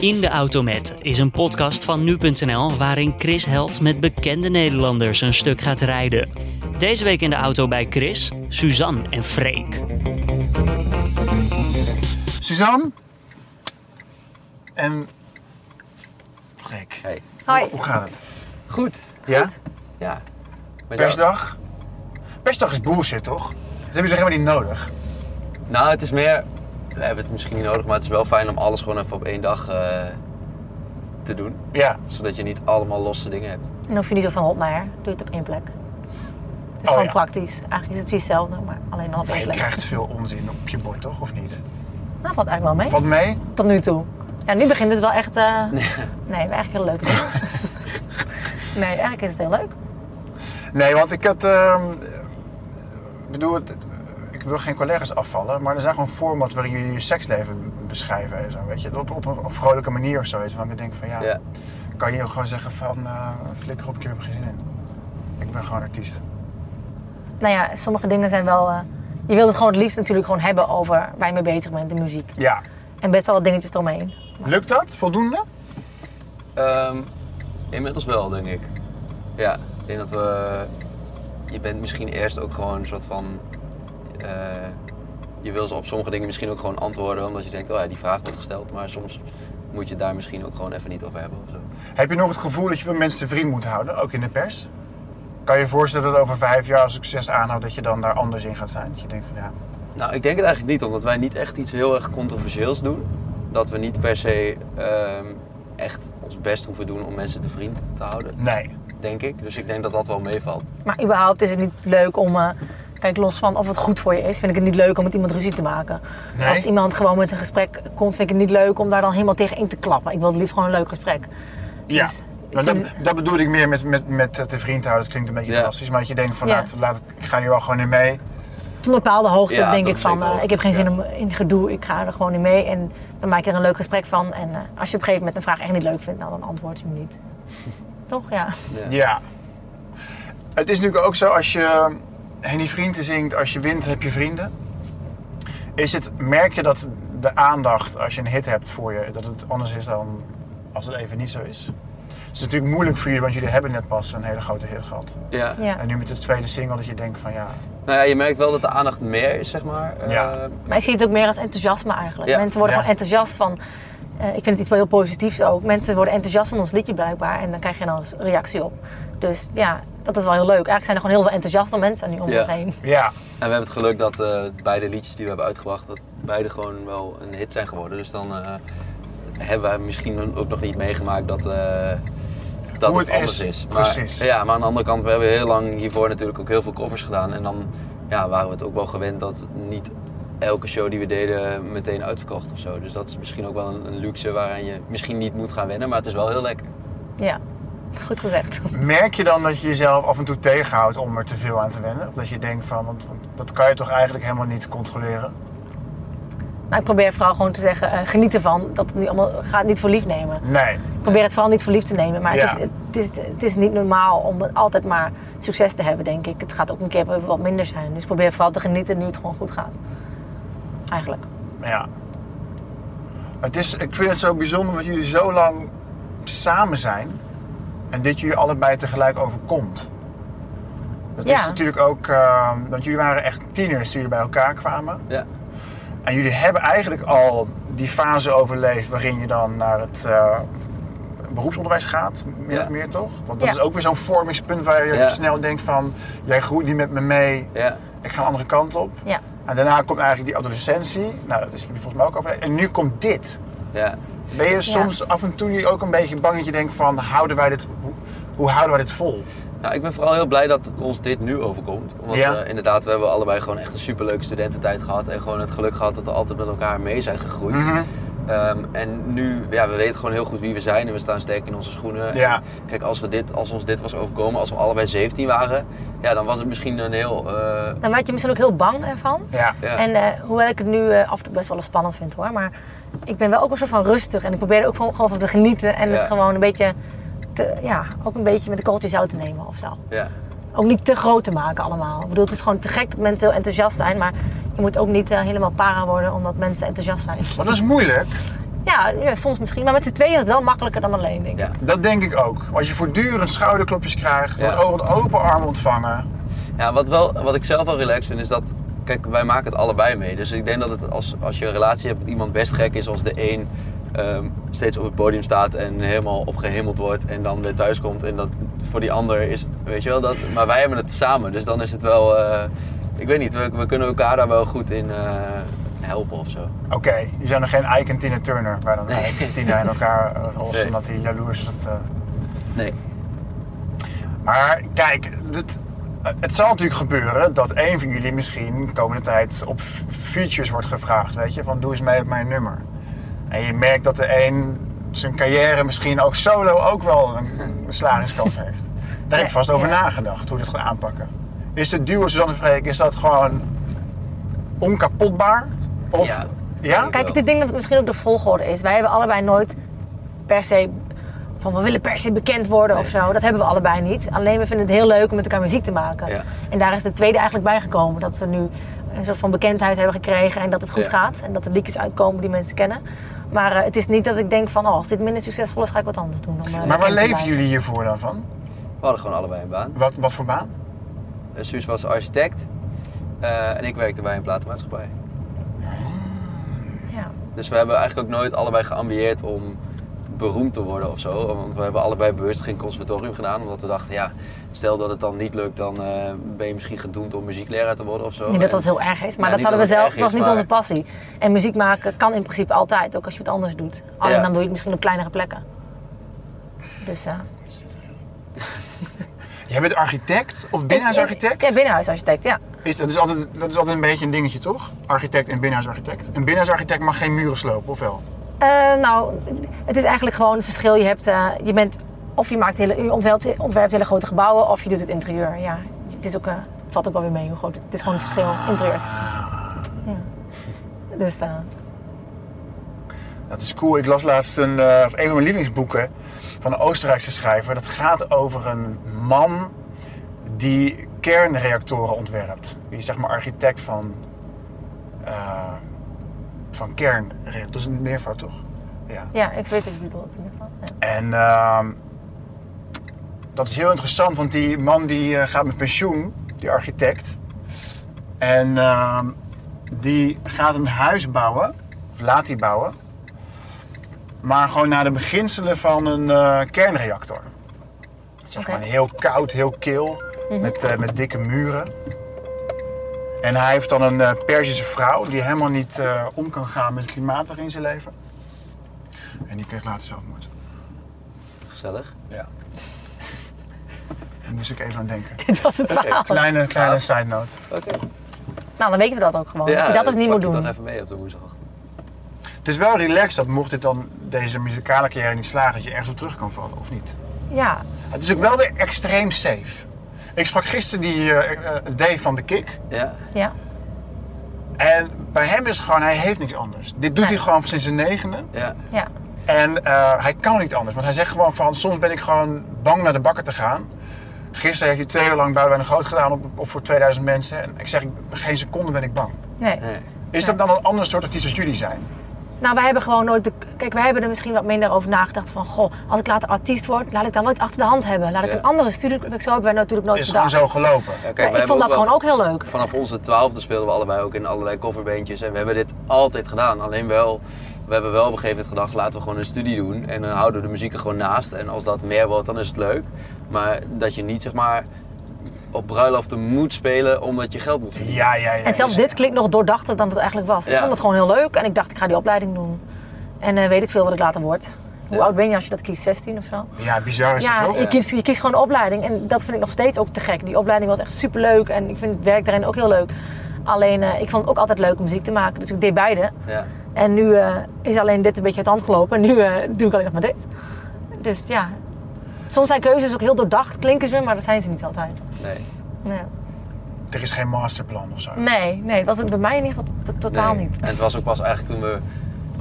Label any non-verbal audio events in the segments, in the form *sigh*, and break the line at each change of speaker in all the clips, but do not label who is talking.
In de Auto Met is een podcast van nu.nl waarin Chris Held met bekende Nederlanders een stuk gaat rijden. Deze week in de auto bij Chris, Suzanne en Freek.
Suzanne en Freek.
Hey.
Hoi.
Hoe gaat het?
Goed.
Ja?
Ja. Met jou?
Persdag? Persdag is bullshit, toch? Dat hebben ze helemaal niet nodig.
Nou, het is meer... We hebben het misschien niet nodig, maar het is wel fijn om alles gewoon even op één dag eh, te doen.
Ja.
Zodat je niet allemaal losse dingen hebt.
En dan hoef je niet zo van hop naar her. Doe het op één plek. Het
Oh,
is gewoon
ja.
praktisch. Eigenlijk is het precies hetzelfde, maar alleen dan op
Maar
één
je
plek.
krijgt veel onzin op je bord, toch? Of niet?
Nou, valt eigenlijk wel mee.
Valt mee?
Tot nu toe. Ja, nu begint het wel
*laughs*
echt... eh, Nee, maar eigenlijk heel leuk. *laughs* nee, eigenlijk is het heel leuk.
Nee, want ik had... ehm, ik bedoel, het- het- ik wil geen collega's afvallen, maar er zijn gewoon formats waarin jullie je seksleven beschrijven en zo, weet je. Op, op een vrolijke manier of zo, weet je. Want ik denk van, ja,
Ja.
kan je ook gewoon zeggen van, eh, flikker op, ik heb er geen zin in. Ik ben gewoon artiest.
Nou ja, sommige dingen zijn wel... eh, je wilt het gewoon het liefst natuurlijk gewoon hebben over waar je mee bezig bent, de muziek.
Ja.
En best wel wat dingetjes eromheen.
Lukt dat? Voldoende?
Ehm, inmiddels wel, denk ik. Ja. Ik denk dat we... Je bent misschien eerst ook gewoon een soort van... eh, je wil op sommige dingen misschien ook gewoon antwoorden, omdat je denkt, oh ja, die vraag wordt gesteld. Maar soms moet je daar misschien ook gewoon even niet over hebben of zo.
Heb je nog het gevoel dat je veel mensen vriend moet houden, ook in de pers? Kan je je voorstellen dat over vijf jaar als succes aanhoudt, dat je dan daar anders in gaat zijn? Dat je denkt van ja,
Nou, ik denk het eigenlijk niet, omdat wij niet echt iets heel erg controversieels doen. Dat we niet per se ehm, echt ons best hoeven doen om mensen te vriend te houden,
nee.
denk ik. Dus ik denk dat dat wel meevalt.
Maar überhaupt is het niet leuk om. eh, kijk, los van of het goed voor je is, vind ik het niet leuk om met iemand ruzie te maken.
Nee?
Als iemand gewoon met een gesprek komt, vind ik het niet leuk om daar dan helemaal tegen in te klappen. Ik wil het liefst gewoon een leuk gesprek.
Ja.
Dus ik
Nou, dat,
vind-
dat bedoel ik meer met, met, met eh, te vriend houden. Dat klinkt een beetje
Ja.
drastisch, maar dat je denkt van
Ja.
laat, laat, ik ga hier wel gewoon in mee.
Tot een bepaalde hoogte
Ja,
denk
tot
ik
een
van,
zekere
eh, ik heb geen zin
hoogte,
om, in gedoe, ik ga er gewoon in mee. En dan maak je er een leuk gesprek van. En eh, als je op een gegeven moment een vraag echt niet leuk vindt, nou, dan antwoord je hem niet. Toch? Ja.
Ja.
Ja. Het is natuurlijk ook zo, als je eh, Henny Vrienden zingt, als je wint heb je vrienden. Is het, merk je dat de aandacht als je een hit hebt voor je, dat het anders is dan als het even niet zo is? Het is natuurlijk moeilijk voor jullie, want jullie hebben net pas een hele grote hit gehad.
Ja.
ja.
En nu met de tweede single dat je denkt van ja,
Nou ja, je merkt wel dat de aandacht meer is, zeg maar. Eh,
Ja.
Maar ik zie het ook meer als enthousiasme eigenlijk.
Ja.
Mensen worden
Ja.
gewoon enthousiast van. eh, ik vind het iets wel heel positiefs ook. Mensen worden enthousiast van ons liedje blijkbaar. En dan krijg je dan een reactie op. Dus ja, dat is wel heel leuk. Eigenlijk zijn er gewoon heel veel enthousiaste mensen nu om
Ja.
ons heen.
ja,
En we hebben het geluk dat eh, beide liedjes die we hebben uitgebracht, dat beide gewoon wel een hit zijn geworden. Dus dan eh, hebben we misschien ook nog niet meegemaakt dat, eh, dat
Hoe
het,
het
anders
is,
is. Maar,
precies.
Ja, maar aan de andere kant, we hebben heel lang hiervoor natuurlijk ook heel veel covers gedaan. En dan ja, waren we het ook wel gewend dat niet elke show die we deden meteen uitverkocht of zo. Dus dat is misschien ook wel een, een luxe waaraan je misschien niet moet gaan wennen, maar het is wel heel lekker.
Ja, goed gezegd.
Merk je dan dat je jezelf af en toe tegenhoudt om er te veel aan te wennen? Of dat je denkt van, want, want dat kan je toch eigenlijk helemaal niet controleren?
Nou, ik probeer vooral gewoon te zeggen, eh, geniet ervan. Dat het nu allemaal gaat niet voor lief nemen.
Nee.
Ik probeer het vooral niet voor lief te nemen. Maar
Ja.
het, is, het, is, het is niet normaal om altijd maar succes te hebben, denk ik. Het gaat ook een keer wat minder zijn. Dus ik probeer vooral te genieten nu het gewoon goed gaat. Eigenlijk.
Ja. Het is, ik vind het zo bijzonder dat jullie zo lang samen zijn en dit jullie allebei tegelijk overkomt. Dat
Ja.
is natuurlijk ook, eh, want jullie waren echt tieners toen jullie bij elkaar kwamen.
Ja.
En jullie hebben eigenlijk al die fase overleefd waarin je dan naar het eh, beroepsonderwijs gaat, min
Ja.
of meer toch? Want dat
Ja.
is ook weer zo'n vormingspunt waar je
Ja.
snel denkt van, jij groeit niet met me mee,
Ja.
ik ga een andere kant op.
Ja.
En daarna komt eigenlijk die adolescentie, nou dat is jullie volgens mij ook overleefd. En nu komt dit.
Ja.
Ben je soms af en toe niet ook een beetje bang dat je denkt van, houden wij dit, hoe, hoe houden wij dit vol?
Nou, ik ben vooral heel blij dat ons dit nu overkomt. Omdat
Ja.
we, inderdaad, we hebben allebei gewoon echt een superleuke studententijd gehad. En gewoon het geluk gehad dat we altijd met elkaar mee zijn gegroeid.
Mhm.
Ehm, en nu, ja, we weten gewoon heel goed wie we zijn. En we staan sterk in onze schoenen.
Ja.
En kijk, als, we dit, als ons dit was overkomen, als we allebei 17 waren. Ja, dan was het misschien een heel... eh,
Dan werd je misschien ook heel bang ervan.
Ja.
ja.
En eh, hoewel ik het nu eh, af en toe best wel eens spannend vind hoor, maar ik ben wel ook een soort van rustig en ik probeer er ook gewoon, gewoon van te genieten en
Ja.
het gewoon een beetje, te, ja, ook een beetje met de kooltjes zout te nemen of zo.
ja.
Ook niet te groot te maken allemaal. Ik bedoel, het is gewoon te gek dat mensen heel enthousiast zijn, maar je moet ook niet eh, helemaal para worden omdat mensen enthousiast zijn.
Want dat is moeilijk.
Ja, ja, soms misschien. Maar met z'n tweeën is het wel makkelijker dan alleen, denk ik.
Ja.
Dat denk ik ook. Als je voortdurend schouderklopjes krijgt,
Ja.
wordt over open arm ontvangen.
Ja, wat, wel, wat ik zelf wel relaxed vind is dat. Kijk, wij maken het allebei mee. Dus ik denk dat het als, als je een relatie hebt met iemand best gek is als de een ehm, steeds op het podium staat en helemaal opgehemeld wordt en dan weer thuis komt. En dat voor die ander is het, weet je wel, dat. Maar wij hebben het samen. Dus dan is het wel. eh, ik weet niet, we, we kunnen elkaar daar wel goed in eh, helpen of zo.
Oké, je zijn nog geen Ike en Tina Turner, waar dan
Nee.
Ike en Tina in elkaar eh, rossen
Nee.
omdat hij jaloers is. op de-
Nee.
Maar kijk, het, eh, het zal natuurlijk gebeuren dat één van jullie misschien de komende tijd op f- features wordt gevraagd. Weet je, van doe eens mee op mijn nummer. En je merkt dat de een zijn carrière misschien ook solo ook wel een, een
*laughs*
slagingskans heeft. Daar heb je vast over
Ja.
nagedacht hoe je dat gaat aanpakken. Is het duo Suzanne Freek, is dat gewoon onkapotbaar? Of,
Ja.
ja?
Kijk, ik denk dat het misschien ook de volgorde is. Wij hebben allebei nooit per se van we willen per se bekend worden of zo. Dat hebben we allebei niet. Alleen we vinden het heel leuk om met elkaar muziek te maken.
Ja.
En daar is de tweede eigenlijk bij gekomen. Dat we nu een soort van bekendheid hebben gekregen en dat het goed
Ja.
gaat. En dat er liedjes uitkomen die mensen kennen. Maar eh, het is niet dat ik denk van oh, als dit minder succesvol is, ga ik wat anders doen. om, eh,
Maar
bekend
waar
te
leven
blijven.
jullie hiervoor dan van?
We hadden gewoon allebei een baan.
Wat, wat voor baan?
Eh, Suus was architect eh, en ik werkte bij een platenmaatschappij.
Ja.
Dus we hebben eigenlijk ook nooit allebei geambieerd om beroemd te worden of zo. Want we hebben allebei bewust geen conservatorium gedaan. Omdat we dachten, ja, stel dat het dan niet lukt, dan eh, ben je misschien gedoemd om muziekleraar te worden of zo.
Niet dat dat
En-
heel erg is, maar
Ja,
dat
niet
hadden we
dat het
zelf.
erg
Dat was
is,
niet onze
maar-
passie. En muziek maken kan in principe altijd, ook als je wat anders doet. Alleen
Ja.
dan doe je het misschien op kleinere plekken. Dus, eh,
Jij bent architect of
Ja,
binnenhuisarchitect?
binnenhuisarchitect, ja.
Is, dat, is altijd, dat is altijd een beetje een dingetje, toch? Architect en binnenhuisarchitect. Een binnenhuisarchitect mag geen muren slopen, of wel?
Eh, nou, het is eigenlijk gewoon het verschil. Je, hebt, eh, je bent, of je, maakt hele, je ontwerpt, ontwerpt hele grote gebouwen, of je doet het interieur. Ja, het is ook, eh, het valt ook wel weer mee hoe groot het, het is. gewoon een verschil, interieur. Ja. Dus, eh,
Dat is cool. Ik las laatst een, eh, of een van mijn lievelingsboeken van een Oostenrijkse schrijver. Dat gaat over een man die kernreactoren ontwerpt. Die is zeg maar architect van, eh, van kernreactoren. Dat is een meervoud, toch? Ja.
ja, ik weet het niet bedoelt in ieder geval.
*laughs*
Ja.
En ehm, dat is heel interessant, want die man die eh, gaat met pensioen, die architect. En ehm, die gaat een huis bouwen, of laat die bouwen. Maar gewoon naar de beginselen van een eh, kernreactor. Zeg
Oké.
maar een heel koud, heel kil, met, eh, met dikke muren. En hij heeft dan een eh Perzische vrouw die helemaal niet eh, om kan gaan met het klimaat waarin ze leven. En die kreeg laatst zelfmoord.
Gezellig.
Ja. Daar moest ik even aan denken.
Dit was het verhaal.
Kleine, kleine side note.
Oké.
Nou, dan weten we dat ook gewoon. dat je dat dus niet moet
pak ik
doen.
toch even mee op de woensdagochtend.
Het is wel relaxed dat mocht dit dan deze muzikale carrière niet slagen, dat je ergens op terug kan vallen, of niet?
Ja,
Het is ook wel weer extreem safe. Ik sprak gisteren die eh, eh, Dave van de Kick.
Ja.
ja.
En bij hem is gewoon, hij heeft niks anders. Dit doet
Nee.
hij gewoon sinds zijn negende.
Ja.
Ja,
En eh, hij kan niet anders. Want hij zegt gewoon van, soms ben ik gewoon bang naar de bakker te gaan. Gisteren heeft hij twee uur lang Boudewijn de Groot gedaan op, op voor 2000 mensen. En ik zeg, ik- geen seconde ben ik bang.
nee.
Nee.
Is dat dan een ander soort artiest als jullie zijn?
Nou, wij hebben gewoon nooit de... Kijk, wij hebben er misschien wat minder over nagedacht van... Goh, als ik later artiest word, laat ik dan wel iets achter de hand hebben. Laat ik
Ja.
een andere studie... Zo hebben wij natuurlijk nooit
Is het gewoon
gedacht.
zo gelopen?
Ja, kijk, wij
Maar ik
hebben
vond dat
wel-
gewoon ook heel leuk.
Vanaf onze twaalfde speelden we allebei ook in allerlei coverbeentjes. En we hebben dit altijd gedaan. Alleen wel, we hebben wel op een gegeven moment gedacht, laten we gewoon een studie doen. En dan houden we de muziek er gewoon naast. En als dat meer wordt, dan is het leuk. Maar dat je niet, zeg maar, op bruiloften moet spelen omdat je geld moet verdienen.
Ja, ja, ja.
En zelfs
Dus-
dit klinkt nog doordachter dan het eigenlijk was. Ik
Ja.
vond het gewoon heel leuk en ik dacht, ik ga die opleiding doen. En eh, weet ik veel wat ik later word. Hoe
Ja.
oud ben je als je dat kiest? 16 of zo?
Ja, bizar is het
Ja,
toch?
je kiest, je kiest gewoon een opleiding. En dat vind ik nog steeds ook te gek. Die opleiding was echt superleuk en ik vind het werk daarin ook heel leuk. Alleen, eh, ik vond het ook altijd leuk om muziek te maken. Dus ik deed beide.
Ja.
En nu eh, is alleen dit een beetje uit de hand gelopen. En nu eh, doe ik alleen nog maar dit. Dus ja, soms zijn keuzes ook heel doordacht, klinken ze, maar dat zijn ze niet altijd.
Nee.
Nee,
Er is geen masterplan of zo.
Mm.
nee, nee dat was ook bij mij in ieder geval to- totaal
Nee.
niet.
En het was ook pas eigenlijk toen we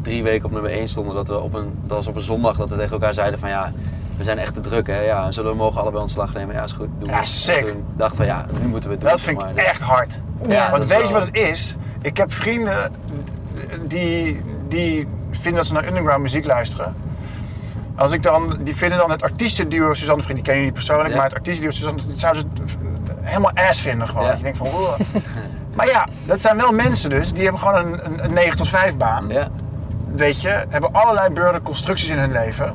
drie weken op nummer 1 stonden, dat we op een, dat was op een zondag, dat we tegen elkaar zeiden van ja, we zijn echt te druk hè, ja, zullen we mogen allebei ontslag nemen? Ja, is goed. Doen we.
Ja,
En
sick.
Toen dachten we ja, nu moeten we het doen.
Dat
zeg
vind ik
maar. Dus-
echt hard.
Ja,
Want
dat
weet
is
je
wel-
wat het is? Ik heb vrienden die, die vinden dat ze naar underground muziek luisteren. Als ik dan, die vinden dan het artiestenduo Suzanne Vriend, die ken je niet persoonlijk,
Ja.
maar het artiestenduo Suzanne, dat zouden ze helemaal ass vinden gewoon.
Ja.
Je
*laughs*
denkt van, "Oeh." maar ja, dat zijn wel mensen dus, die hebben gewoon een, een, een 9 tot 5 baan
Ja.
weet je, hebben allerlei beurde constructies in hun leven.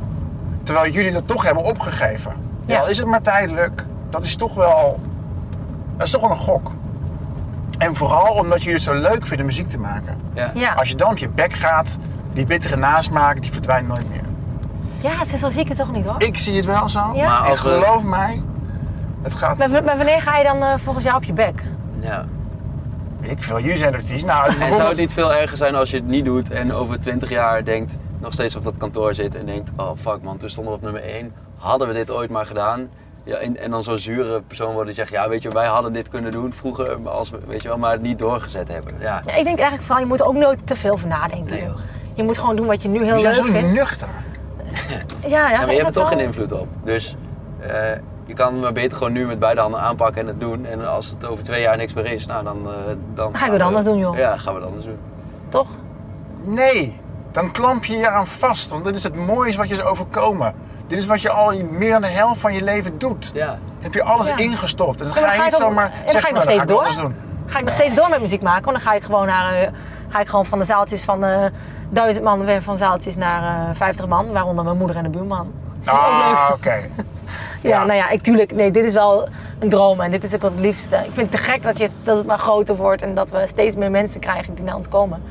Terwijl jullie dat toch hebben opgegeven.
Ja.
Al is het maar tijdelijk, dat is toch wel, dat is toch wel een gok. En vooral omdat jullie het zo leuk vinden muziek te maken.
Ja.
Ja.
Als je dan op je bek gaat, die bittere nasmaak, die verdwijnt nooit meer.
Ja, zo zie ik het toch niet hoor.
Ik zie het wel zo,
Ja.
maar
Maar
en
als we-
geloof mij, het gaat...
Maar, w- maar wanneer ga je dan eh, volgens jou op je bek?
Ja.
Ik veel, jullie zijn artiest.
*laughs*
Nou,
En zou het
*laughs* bijvoorbeeld-
niet veel erger zijn als je het niet doet en over 20 jaar denkt, nog steeds op dat kantoor zit en denkt, oh fuck man, toen stonden we op nummer 1, hadden we dit ooit maar gedaan? Ja, en, en dan zo'n zure persoon worden die zegt, ja weet je, wij hadden dit kunnen doen vroeger, maar als we, weet je wel, maar het niet doorgezet hebben. Ja,
Ja, ik denk eigenlijk van, je moet er ook nooit te veel over nadenken.
Nee,
joh.
joh.
Je moet gewoon doen wat je nu heel
jullie zijn
leuk
zo
vindt.
nuchter.
Ja, ja,
Ja, maar je
is
hebt er
dat
toch
wel?
geen invloed op. Dus eh, je kan maar beter gewoon nu met beide handen aanpakken en het doen. En als het over twee jaar niks meer is, nou dan... eh, dan
Ga ik wat anders doen, joh.
Ja, gaan we het anders doen.
Toch?
Nee, dan klamp je je aan vast. Want dit is het mooiste wat je is overkomen. Dit is wat je al meer dan de helft van je leven doet.
Ja.
Heb je alles
Ja.
ingestopt. En dan
Ja,
ga je niet
ik ook-
zomaar
en dan
zeggen,
ga ik
nou,
nog
dan ga
steeds
ik
door.
anders doen.
*laughs* Ga ik nog steeds door met muziek maken. Want dan ga ik gewoon naar, eh, ga ik gewoon van de zaaltjes van eh duizend man weer van zaaltjes naar eh 50 man, waaronder mijn moeder en de buurman.
Ah, oké.
Ja, nou ja, ik tuurlijk. Nee, dit is wel een droom en dit is ook wat het liefste. Ik vind het te gek dat, je, dat het maar groter wordt en dat we steeds meer mensen krijgen die naar ons komen.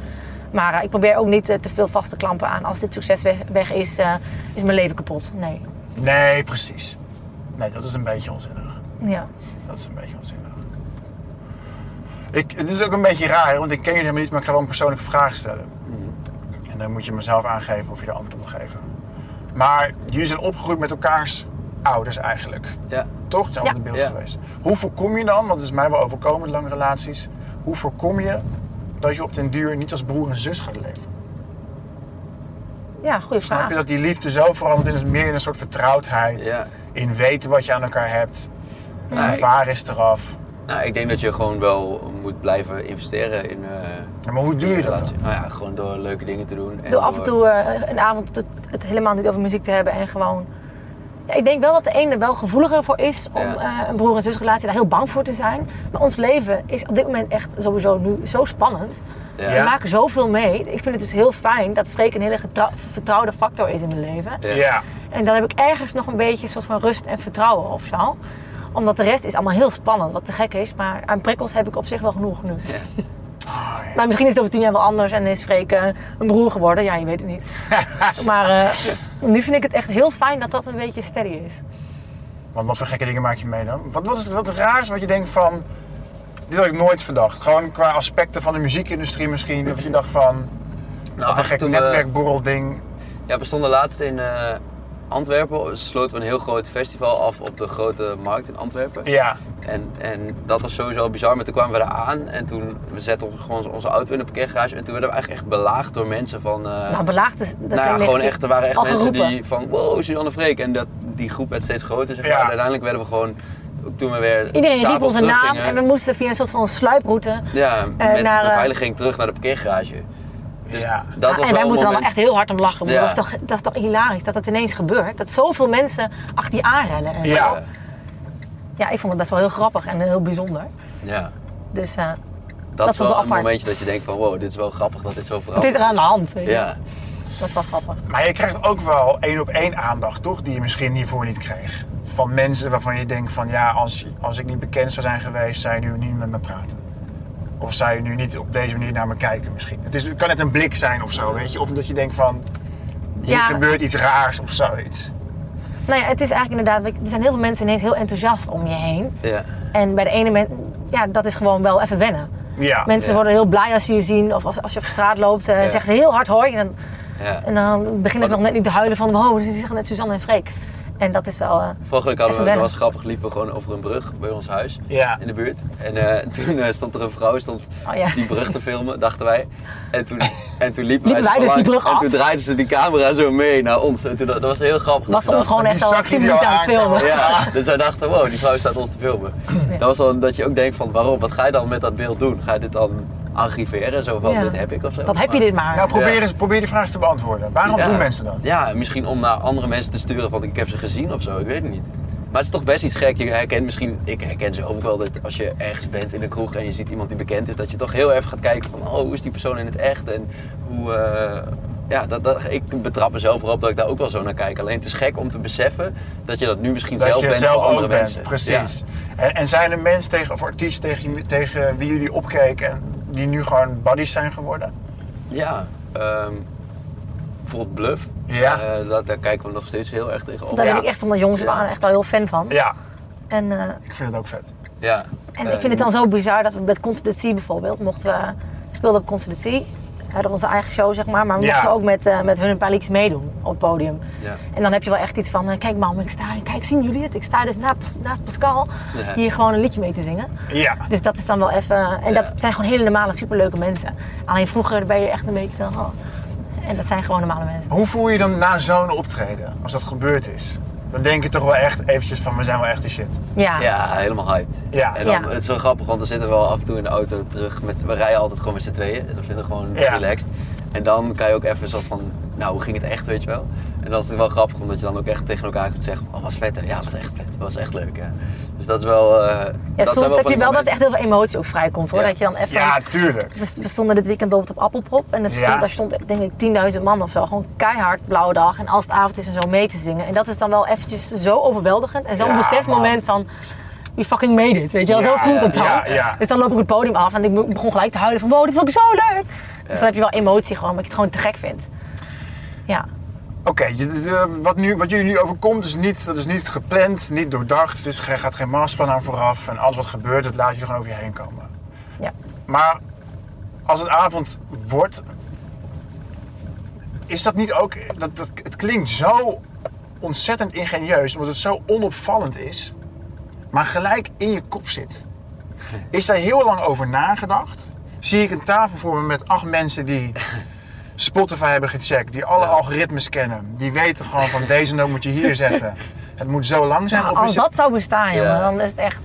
Maar eh, ik probeer ook niet eh, te veel vast te klampen aan. Als dit succes weg, weg is, eh, is mijn leven kapot. Nee.
Nee, precies. Nee, dat is een beetje onzinnig.
Ja.
Dat is een beetje onzinnig. Ik, het is ook een beetje raar, want ik ken jullie helemaal niet, maar ik ga wel een persoonlijke vraag stellen. En dan moet je mezelf aangeven of je er antwoord op wil geven. Maar jullie zijn opgegroeid met elkaars ouders eigenlijk.
Ja.
Toch? Het zijn altijd
Ja.
in beeld
Ja.
geweest. Hoe voorkom je dan, want het is mij wel overkomen in lange relaties, hoe voorkom je dat je op den duur niet als broer en zus gaat leven?
Ah.
Ja, goede
Snap
vraag.
je dat die liefde zo verandert in een- meer in een soort vertrouwdheid,
Ja.
in weten wat je aan elkaar hebt, het
Nee.
gevaar is eraf.
Nou, ik denk dat je gewoon wel moet blijven investeren in... eh,
Ja, Maar hoe doe je dat?
relatie.
dan?
Nou ja, gewoon door leuke dingen te doen. En
Door af en toe eh, een avond het, het helemaal niet over muziek te hebben en gewoon. Ja, ik denk wel dat de ene wel gevoeliger voor is om
Ja.
eh, een broer- en zusrelatie daar heel bang voor te zijn. Maar ons leven is op dit moment echt sowieso nu zo spannend.
Ja.
We
Ja.
maken zoveel mee. Ik vind het dus heel fijn dat Freek een hele getra- vertrouwde factor is in mijn leven.
Ja.
Ja.
En dan heb ik ergens nog een beetje een soort van rust en vertrouwen of zo. Omdat de rest is allemaal heel spannend, wat te gek is. Maar aan prikkels heb ik op zich wel genoeg nu. Maar misschien is het over tien jaar wel anders en is Freek eh, een broer geworden. Ja, je weet het niet. maar eh, nu vind ik het echt heel fijn dat dat een beetje steady is.
Want wat voor gekke dingen maak je mee dan? Wat, wat is het wat raars wat je denkt van, dit had ik nooit verdacht. Gewoon qua aspecten van de muziekindustrie misschien, dat je dacht van,
Nou,
wat een gek
toen we-
netwerkborrelding.
Ja, we stonden laatst in eh, Antwerpen. Sloten we een heel groot festival af op de grote markt in Antwerpen.
Ja,
En, en dat was sowieso bizar, maar toen kwamen we eraan en toen we zetten ons gewoon onze auto in de parkeergarage en toen werden we eigenlijk echt belaagd door mensen van... eh,
nou, belaagd is...
nou ja, gewoon echt, er waren echt mensen die van wow, Suzanne Freek. En dat, die groep werd steeds groter, zeg maar.
Ja.
En uiteindelijk werden we gewoon, ook toen we weer
Iedereen riep
s'avonds
onze naam
teruggingen,
en we moesten via een soort van sluiproute.
eh, Ja,
eh,
met
naar, eh,
beveiliging terug naar de parkeergarage.
ja.
dus Dat was wel een
en wij moesten er allemaal
moment.
echt heel hard om lachen. want
Ja.
Dat, is toch, dat is toch hilarisch dat dat ineens gebeurt. Dat zoveel mensen achter je aanrennen. En zo.
Ja.
ja, ik vond het best wel heel grappig en heel bijzonder.
Ja.
Dus eh,
Dat,
Dat
is
vond ik
wel
wel
een
apart.
momentje dat je denkt van wow, dit is wel grappig dat dit zo
het
verandert.
is er aan de hand. weet je.
Oh. Ja,
Dat is wel grappig.
Maar je krijgt ook wel één op één aandacht, toch? Die je misschien hiervoor niet kreeg. Van mensen waarvan je denkt van ja, als, als ik niet bekend zou zijn geweest, zou je nu niet met me praten. Of zou je nu niet op deze manier naar me kijken misschien. Het, is, het kan net een blik zijn of zo, weet je. Of dat je denkt van, hier
Ja.
gebeurt iets raars of zoiets.
Nou ja, het is eigenlijk inderdaad, er zijn heel veel mensen ineens heel enthousiast om je heen.
ja.
En bij de ene mens, ja, dat is gewoon wel even wennen.
Ja,
Mensen
Ah, Ja.
worden heel blij als ze je zien, of als, als je op straat loopt, eh,
Ja.
zeggen ze heel hard hoi. En dan,
ja.
en dan beginnen ze nog net niet te huilen van, oh, ze zeggen net Suzanne en Freek. En dat is wel, eh,
Vorige week hadden
Even
we, dat
wennen.
was grappig, liepen we gewoon over een brug bij ons huis
Ja.
in de buurt. En eh, *laughs* toen eh, stond er een vrouw stond
Oh ja.
die brug te filmen, dachten wij. En toen, en toen liepen,
Liepen
zo
wij dus die
langs
brug
en
af?
toen draaiden ze die camera zo mee naar ons. En toen, dat was heel grappig.
was ze
dat
ons
we
gewoon
die
echt al
zag je
tien
nu
minuten
al
aan het filmen.
aankomen.
dachten- Ja, dus wij dachten, wow, die vrouw staat ons te filmen. Dat was dan dat je ook denkt van, waarom, wat ga je dan met dat beeld doen? Ga je dit dan archiveren. Zo van,
Ja.
dit heb ik of zo.
Dan heb je
Maar-
dit maar.
Nou, probeer,
Ja.
eens, probeer die vraag eens te beantwoorden. Waarom
Ja.
doen mensen dat?
Ja, misschien om naar andere mensen te sturen van ik heb ze gezien of zo, ik weet het niet. Maar het is toch best iets gek. Je herkent misschien, ik herken ze ook wel dat als je ergens bent in een kroeg en je ziet iemand die bekend is, dat je toch heel even gaat kijken van oh, hoe is die persoon in het echt en hoe. eh, ja, dat, dat, ik betrap mezelf erop dat ik daar ook wel zo naar kijk. Alleen het is gek om te beseffen dat je dat nu misschien
Dat
zelf
je
bent
zelf
voor andere
ook bent,
mensen.
precies.
Ja.
En, en zijn er mensen tegen, of artiesten tegen, tegen wie jullie opkeken en die nu gewoon buddies zijn geworden?
Ja, ehm, bijvoorbeeld Bluff.
Ja.
Eh, dat, daar kijken we nog steeds heel erg tegen op.
Daar
Ja.
ben ik echt van de jongens
Ja.
waren echt al heel fan van.
Ja,
En, eh,
ik vind het ook vet.
Ja.
En
Eh,
ik vind het dan zo bizar dat we met Constitutie bijvoorbeeld, mochten we we speelden op Constitutie, we hadden onze eigen show zeg maar, maar we
Ja.
mochten ook met, eh, met hun een paar leaks meedoen op het podium.
Ja.
En dan heb je wel echt iets van, eh, kijk mam, ik sta, kijk zien jullie het? Ik sta dus na- naast Pascal
Ja.
hier gewoon een liedje mee te zingen.
Ja.
Dus dat is dan wel even, en
Ja.
dat zijn gewoon hele normale superleuke mensen. Alleen vroeger ben je echt een beetje van, oh. en dat zijn gewoon normale mensen.
Hoe voel je je dan na zo'n optreden, als dat gebeurd is? Dan denk je toch wel echt eventjes van, we zijn wel echt de shit.
Ja, ja.
Ja, helemaal hyped.
Ja.
En dan,
Ja.
het is zo grappig, want dan zitten we wel af en toe in de auto terug. Met, we rijden altijd gewoon met z'n tweeën. En dat vinden we gewoon
Ja.
relaxed. En dan kan je ook even zo van, nou hoe ging het echt, weet je wel. En dan is het wel grappig, omdat je dan ook echt tegen elkaar kunt zeggen, oh was vet hè? Ja, was echt vet. Was echt leuk ja. Dus dat is wel... eh, dat zijn
soms
van
heb
die
je wel dat
momenten.
echt heel veel emotie ook vrijkomt hoor.
Ja.
Dat je dan even
Ja, tuurlijk.
We we stonden dit weekend bijvoorbeeld op Appelprop en het
Ja.
stond, daar stond denk ik 10.000 man of zo. Gewoon keihard blauwe dag en als het avond is en zo mee te zingen. En dat is dan wel eventjes zo overweldigend en zo'n
Ja,
besefmoment van we fucking made it, weet je wel.
Ja,
zo voelt het
ja,
dan.
ja, ja.
Dus dan loop ik het podium af en ik be- begon gelijk te huilen van wow, dit vond ik zo leuk. Dus dan heb je wel emotie gewoon, omdat ik het gewoon te gek vind. Ja,
Oké, je- dus, eh, wat, nu- wat jullie nu overkomt is niet, dat is niet gepland, niet doordacht. Er is ge- gaat geen masterplan aan vooraf. En alles wat gebeurt, dat laat je gewoon over je heen komen.
ja.
Maar als het avond wordt, is dat niet ook. Dat, dat, het klinkt zo ontzettend ingenieus, omdat het zo onopvallend is, maar gelijk in je kop zit. Is daar heel lang over nagedacht? Zie ik een tafel voor me met acht mensen die Spotify hebben gecheckt, die alle algoritmes kennen, die weten gewoon van deze noot moet je hier zetten. Het moet zo lang zijn.
Nou,
of is
als
het,
dat zou bestaan jongen,
Ja.
dan is het echt...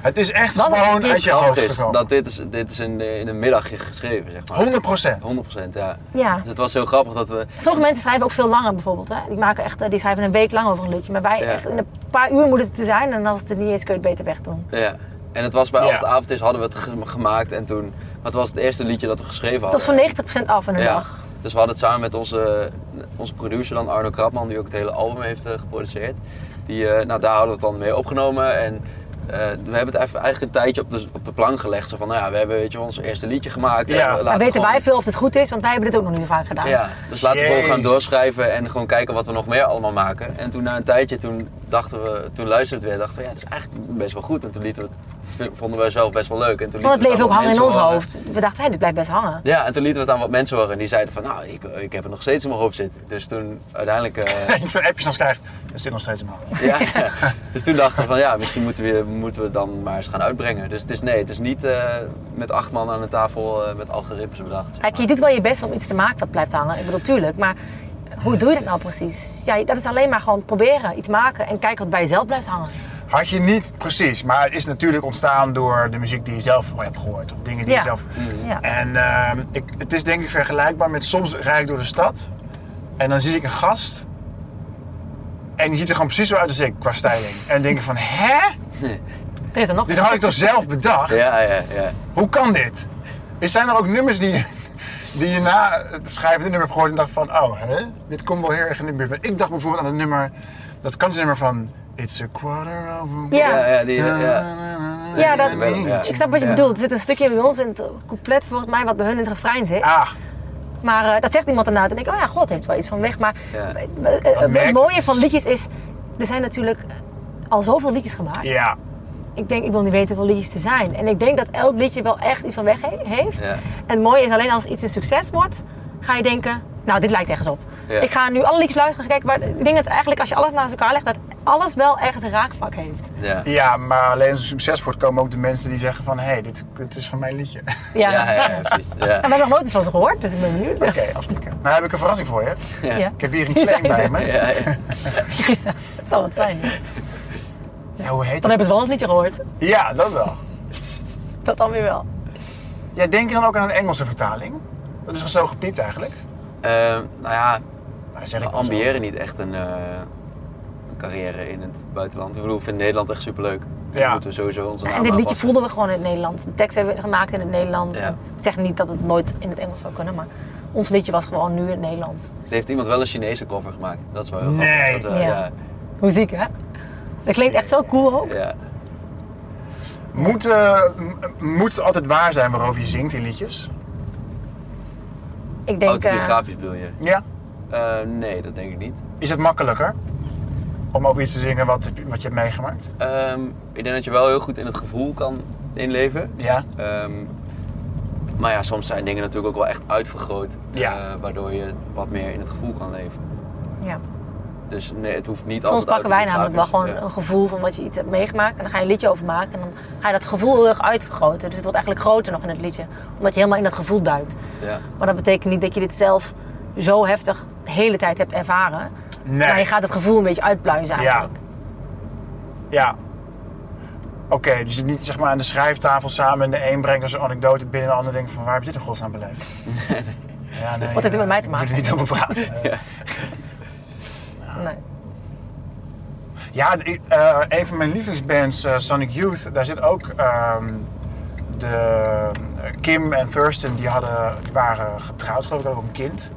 het is echt
dat is
gewoon
niet
uit je
grappig
hoofd
is
gekomen.
Dus dat dit is, dit is in, eh, in een middagje geschreven, zeg maar.
100 procent.
100%, ja.
Ja.
Dus het was heel grappig dat we...
Sommige mensen schrijven ook veel langer bijvoorbeeld. Hè? Die, maken echt, eh, die schrijven een week lang over een liedje. Maar wij
Ja.
echt in een paar uur moet het er zijn. En als het er niet is, kun je het beter wegdoen.
Ja. En het was bij Als
Ja.
het avond is, hadden we het ge- gemaakt en toen... Maar het was het eerste liedje dat we geschreven
Het was
hadden.
voor 90% af in een dag.
Dus we hadden het samen met onze, onze producer dan Arno Krabman, die ook het hele album heeft eh, geproduceerd. Die, eh, nou, daar hadden we het dan mee opgenomen. En eh, we hebben het even, eigenlijk een tijdje op de, op de plank gelegd. Zo van, nou ja, we hebben weet je, wel, ons eerste liedje gemaakt.
Ja.
en we
Maar
laten
Maar weten
gewoon-
wij veel of het goed is, want wij hebben dit ook nog niet zo vaak gedaan.
Ja, dus laten we gewoon gaan
Jezus.
doorschrijven en gewoon kijken wat we nog meer allemaal maken. En toen na een tijdje, toen dachten we, toen luisterden we weer, dachten we, ja, dat is eigenlijk best wel goed. En toen lieten we het, vonden we zelf best wel leuk. En toen lieten
Want het
we
bleef ook
aan
hangen in
mensen
ons
horen.
hoofd. We dachten, hé, dit blijft best hangen.
Ja, en toen lieten we het aan wat mensen horen en die zeiden van, nou, ik, ik heb het nog steeds in mijn hoofd zitten. Dus toen uiteindelijk,
*laughs*
*laughs*
eh,
Ik zo'n appjes dan krijgt, er zit nog steeds een hand.
ja, dus toen dachten we van, ja, misschien moeten we, moeten we het dan maar eens gaan uitbrengen. Dus het is, nee, het is niet eh, met acht man aan de tafel eh, met algoritmes bedacht. zeg
Kijk, je
maar.
doet wel je best om iets te maken wat blijft hangen. Ik bedoel, tuurlijk. Maar hoe doe je dat nou precies? Ja, dat is alleen maar gewoon proberen, iets maken en kijken wat bij jezelf blijft hangen.
Had je niet precies, maar het is natuurlijk ontstaan door de muziek die je zelf wel hebt gehoord. Of dingen die
Ja.
je zelf.
Ja.
En ehm, ik, het is denk ik vergelijkbaar met soms rijd ik door de stad en dan zie ik een gast. En die ziet er gewoon precies zo uit als ik qua styling. En denk ik van, hè?
Er is er nog.
Dit had ik toch zelf bedacht?
Ja, ja, ja.
Hoe kan dit? Is- Zijn er ook nummers die, die je na het schrijven dit nummer hebt gehoord en dacht van, oh, hè? dit komt wel heel erg in de buurt. Ik dacht bijvoorbeeld aan het nummer, dat nummer van It's a quarter over
Ja.
Ja, ja, die, ja.
Ja, dat-
Ja.
Ik snap wat je
Ja.
bedoelt. Er zit een stukje bij ons in het couplet, volgens mij, wat bij hun in het refrein zit.
Ah,
Maar eh, dat zegt iemand daarna. Dan denk ik, oh ja, God heeft wel iets van weg. Maar
Ja.
eh, eh, eh,
merk
het
je
mooie
dus.
van liedjes is, er zijn natuurlijk al zoveel liedjes gemaakt.
ja.
Ik denk, ik wil niet weten hoeveel liedjes er zijn. En ik denk dat elk liedje wel echt iets van weg he- heeft.
Ja.
En het mooie is alleen als iets een succes wordt, ga je denken, nou dit lijkt ergens op.
Ja.
Ik ga nu alle liedjes luisteren, kijken. Maar ik denk dat eigenlijk als je alles naast elkaar legt, dat alles wel ergens een raakvlak heeft.
ja.
Ja, maar alleen als het succes wordt komen ook de mensen die zeggen van, hé, hey, dit, dit is van mijn liedje. *laughs* Oké,
Ja.
Ja, ja, ja, precies. Ja.
En we hebben nog nooit iets van ze gehoord, dus ik ben benieuwd.
afkikken. Nou heb ik een verrassing voor je.
Ja.
Ik heb hier een
Hier
claim
zijn
bij
ze.
me.
Ja, ja.
Dat zal het zijn.
Ja, hoe heet
Dan
dat?
hebben ze wel ons liedje gehoord.
Ja, dat wel.
Dat dan weer wel.
Jij denkt dan ook aan een Engelse vertaling? Dat is zo gepiept eigenlijk.
Ehm, nou ja,
Maar zeg
we
ik wel zo.
ambiëren niet echt een, eh, een carrière in het buitenland. Ik bedoel, ik vind Nederland echt superleuk. Dus
Ja.
moeten we sowieso onze naam
En dit liedje
aanpassen.
voelden we gewoon in het Nederlands. De tekst hebben we gemaakt in het Nederlands.
Ja.
En Ik zeg niet dat het nooit in het Engels zou kunnen, maar ons liedje was gewoon nu in het Nederlands.
Dus heeft iemand wel een Chinese cover gemaakt. Dat is wel heel
Nee.
grappig. Dat, eh,
Ja. Hoe ziek, hè? Dat klinkt echt zo cool ook.
ja, ja.
Moet, eh, m- moet het altijd waar zijn waarover je zingt in liedjes?
Ik denk, eh,
Autobiografisch bedoel je?
Ja.
Eh, nee, dat denk ik niet.
Is het makkelijker om over iets te zingen wat, heb je- wat je hebt meegemaakt?
Ehm, ik denk dat je wel heel goed in het gevoel kan inleven.
Ja.
Ehm, maar ja, soms zijn dingen natuurlijk ook wel echt uitvergroot.
Ja.
eh, waardoor je het wat meer in het gevoel kan leven.
ja.
Dus nee, het hoeft niet
Soms
altijd
pakken wij namelijk wel gewoon
autobiografisch.
een gevoel van wat je iets hebt meegemaakt. En dan ga je een liedje over maken. En dan ga je dat gevoel heel erg uitvergroten. Dus het wordt eigenlijk groter nog in het liedje. Omdat je helemaal in dat gevoel duikt.
Ja. ja.
Maar dat betekent niet dat je dit zelf zo heftig de hele tijd hebt ervaren.
Nee.
Maar je gaat het gevoel een beetje uitpluizen
Ja.
eigenlijk.
Ja. Oké, dus het niet zeg maar aan de schrijftafel samen en de een brengt er zo'n anekdote binnen en de ander denkt van waar heb je dit in godsnaam beleefd? *laughs* Ja, nee,
Wat heeft het met mij te
ik wil er
maken?
niet over praten. ja,
Nee.
ik- eh, een van mijn lievelingsbands, eh, Sonic Youth, daar zit ook ehm, de, eh, Kim en Thurston, die, hadden, die waren getrouwd geloof ik, hadden ook een kind.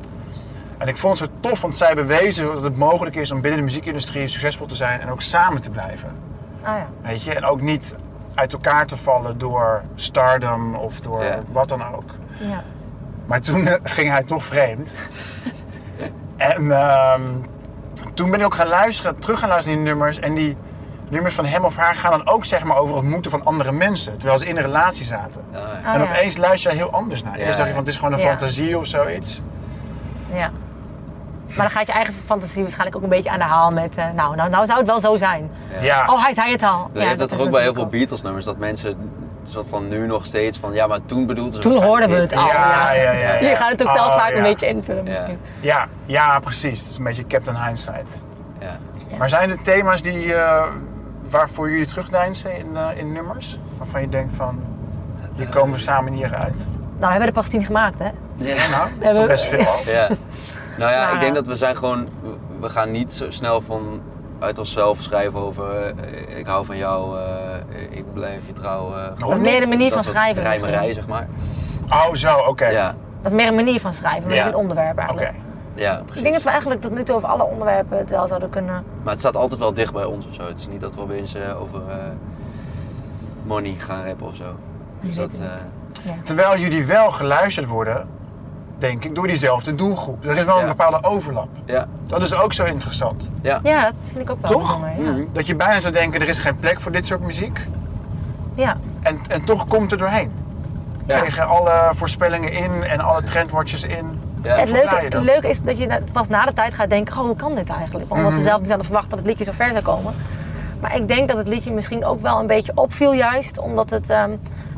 En ik vond het zo tof, want zij bewezen dat het mogelijk is om binnen de muziekindustrie succesvol te zijn en ook samen te blijven.
Ah ja.
Weet je, en ook niet uit elkaar te vallen door stardom of door
Ja.
wat dan ook.
ja.
Maar toen eh, ging hij toch vreemd. en ehm, toen ben ik ook gaan luisteren, terug gaan luisteren naar die nummers. En die nummers van hem of haar gaan dan ook zeg maar over het moeten van andere mensen. Terwijl ze in een relatie zaten.
Ah,
Ah,
en
ja.
opeens luister je heel anders naar.
Ja,
Eerst dacht je
ja.
van het is gewoon een
Ja.
fantasie of zoiets.
Ja. Maar dan gaat je eigen fantasie waarschijnlijk ook een beetje aan de haal met... eh, nou, nou, nou zou het wel zo zijn.
Ja.
Oh, hij zei het al.
je hebt dat
is
toch ook bij heel veel
natuurlijk
Beatles nummers, dat mensen soort van nu nog steeds van ja, maar toen bedoelden ze
Toen
waarschijnlijk
hoorden we
dit.
het al. Oh,
ja, ja,
ja.
ja,
ook. *laughs* Je gaat het ook zelf
Oh,
vaak een
ja.
beetje invullen
Ja.
misschien.
Ja, ja, precies. Het is een beetje Captain Hindsight.
Ja.
Maar zijn er thema's die, eh, waarvoor jullie terugdeinzen in, eh, in nummers? Waarvan je denkt van, hier komen we samen niet uit.
Nou, we hebben er pas tien gemaakt, hè?
Ja.
Nou, dat is
we-
toch best veel al.
*laughs*
Ja. Nou ja,
Maar-
ik denk dat we zijn gewoon. we- We gaan niet zo snel van uit onszelf schrijven over eh, ik hou van jou, eh, ik blijf je trouw.
Dat
eh,
is meer
Nou, de manier
dat
van
soort
schrijven
Rijmerij,
misschien.
zeg maar.
Oh, zo, oké.
Ja,
Dat is meer een manier van schrijven, meer
Ja.
een onderwerp
Oké.
eigenlijk.
ja, precies.
Ik denk dat we eigenlijk tot nu toe over alle onderwerpen het wel zouden kunnen.
Maar het staat altijd wel dicht bij ons of zo. Het is niet dat we opeens eh, over eh, money gaan rappen of zo. Dus
weet
dat,
het
eh,
niet.
Terwijl jullie wel geluisterd worden, denk ik, door diezelfde doelgroep. Er is wel een
Ja.
bepaalde overlap.
ja,
Dat is ook zo interessant.
ja.
Ja, dat vind ik ook wel
Toch?
bijzonder, ja.
Mhm.
Dat je bijna zou denken, er is geen plek voor dit soort muziek.
ja.
En, en toch komt er doorheen.
Ja.
Tegen alle voorspellingen in en alle trendwatches in.
Ja.
Het
Hoe
leuke,
verklaar je dat?
het leuke is dat je na- pas na de tijd gaat denken: oh, hoe kan dit eigenlijk? Omdat
Mhm.
we zelf niet hadden verwacht dat het liedje zo ver zou komen. Maar ik denk dat het liedje misschien ook wel een beetje opviel, juist omdat het ehm,